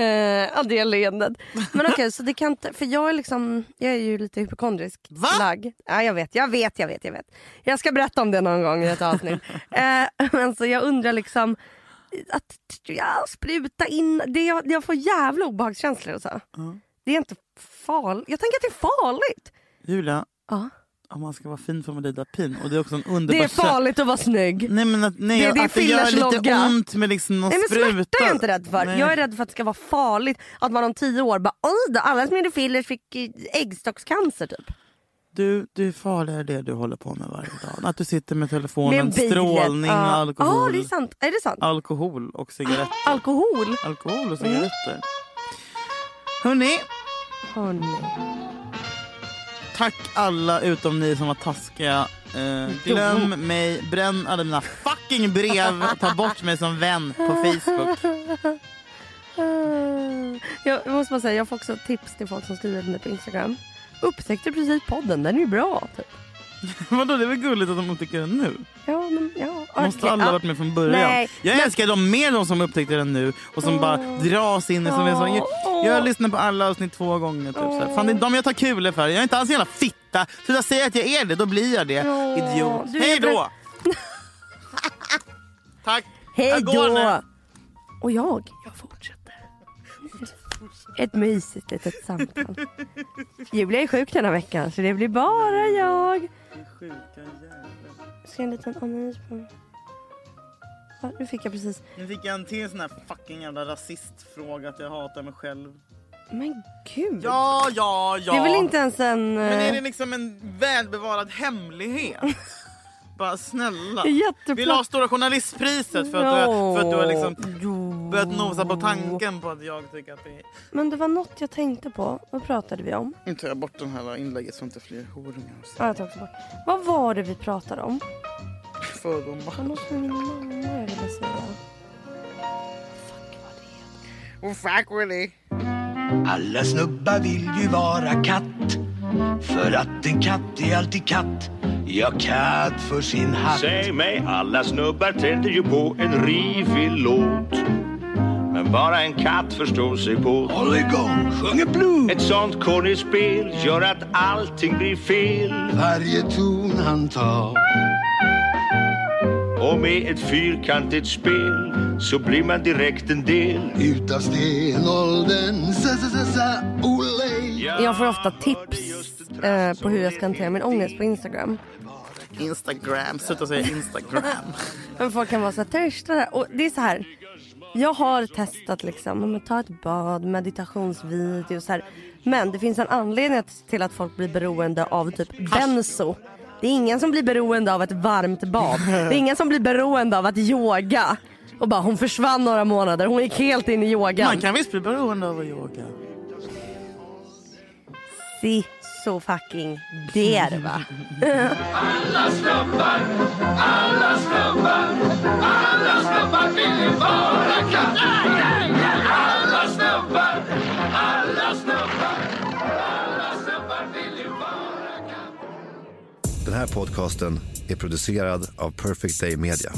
B: ja, det leendet. Men okej, så det kan inte... För jag är liksom... Jag är ju lite hypokondrisk.
A: Va?
B: Lagd. Ja, jag vet, jag vet, jag vet, jag vet. Jag ska berätta om det någon gång i ett avsnitt.
A: [LAUGHS]
B: eh, men så jag undrar liksom... Att ja, spruta in... Det, jag, jag får jävla obehagskänslor och så. Det är inte farligt. Jag tänker att det är farligt.
A: Julia,
B: Ja.
A: om man ska vara fin får man lida pin. Och det är också en
B: Det
A: underbar
B: är farligt att vara snygg.
A: Nej men att, nej,
B: Det är det
A: att det gör
B: fillers
A: lite
B: logga.
A: ont med liksom någon
B: Nej, men
A: spruta.
B: smärta är jag inte rädd för.
A: Nej.
B: Jag är rädd för att det ska vara farligt. Att man om tio år bara oj då, alla som gjorde fillers fick eh, äggstockscancer typ.
A: Du, du är farligare det du håller på med varje dag. Att du sitter med
B: Med
A: telefonen,
B: en bil.
A: strålning,
B: Ja.
A: alkohol.
B: Ja, det är sant. Är det sant?
A: Alkohol och cigaretter.
B: Alkohol?
A: Alkohol och cigaretter. Hörni,
B: Hörni. [LAUGHS]
A: tack alla utom ni som var taskiga. Eh, glöm mig, bränn alla mina fucking brev. Ta bort mig som vän på Facebook.
B: Ah. Jag måste bara säga, jag får också tips till folk som skriver till mig på Instagram. Upptäckte precis podden, den är ju bra. Typ.
A: [LAUGHS] Vadå, det är väl gulligt att de upptäcker den nu?
B: Ja, men ja.
A: Måste
B: okej,
A: alla
B: ja.
A: varit med från början?
B: Nej,
A: jag älskar dem mer de som upptäckte den nu och som bara dras in. i Som är så,
B: Åh.
A: jag lyssnar på alla avsnitt två gånger. Typ, så här. Fan, det är de jag tar kulor för. Jag är inte alls en jävla fitta. Sluta säga att jag är det, då blir jag det.
B: Åh,
A: Idiot.
B: du är
A: Hej då!
B: bra.
A: [LAUGHS] Tack.
B: Hej
A: Jag går nu.
B: då! Och jag, jag fortsätter. Ett mysigt litet samtal. Julia är sjuk den här veckan så det blir bara jag. Ska jag en liten analys på mig? Ja, nu fick jag precis.
A: Nu fick jag en till sån här fucking jävla rasistfråga att jag hatar mig själv.
B: Men gud.
A: Ja, ja, ja.
B: Det är väl inte ens en...
A: Men är det
B: eh,
A: liksom en välbevarad
B: [LAUGHS]
A: hemlighet? Bara snälla.
B: eh, Jättepla-
A: Vill du ha Stora Journalistpriset för att, du, för att du har liksom
B: Jo.
A: börjat nosa på tanken på att jag tycker att det är...
B: Men det var något jag tänkte på. Vad pratade vi om?
A: Nu tar jag bort det här inlägget så inte fler horungar
B: Ja, jag tar också bort. Vad var det vi pratade om? Det var
A: fördomar.
B: något med min mamma jag ville säga.
A: Oh, fuck Willy.
E: Alla snubbar vill ju vara katt För att en katt är alltid katt Ja, katt för sin hatt
D: Säg mig, alla snubbar tänder ju på en rivig låt. Men bara en katt förstår sig på.
E: Håll igång, sjunger blues
D: Ett sånt kornigt spel gör att allting blir fel.
E: Varje ton han tar
D: Och med ett fyrkantigt spel så blir man direkt en del.
E: Utav stenåldern, sa sa sa sa olej
B: Jag får ofta tips eh, på hur jag ska hantera min ångest på Instagram.
A: Instagram. Sluta säga Instagram.
B: Men folk kan vara så här, törsta där. Och det är så här. Jag har testat liksom, ja, men ta ett bad, meditationsvideo så här. Men det finns en anledning att- till att folk blir beroende av typ benzo. Det är ingen som blir beroende av ett varmt bad. Det är ingen som blir beroende av att yoga. Och bara hon försvann några månader, hon gick helt in i yogan.
A: Man kan visst bli beroende av att yoga.
B: Si så fucking der va.
F: Den här podcasten är producerad av Perfect Day Media.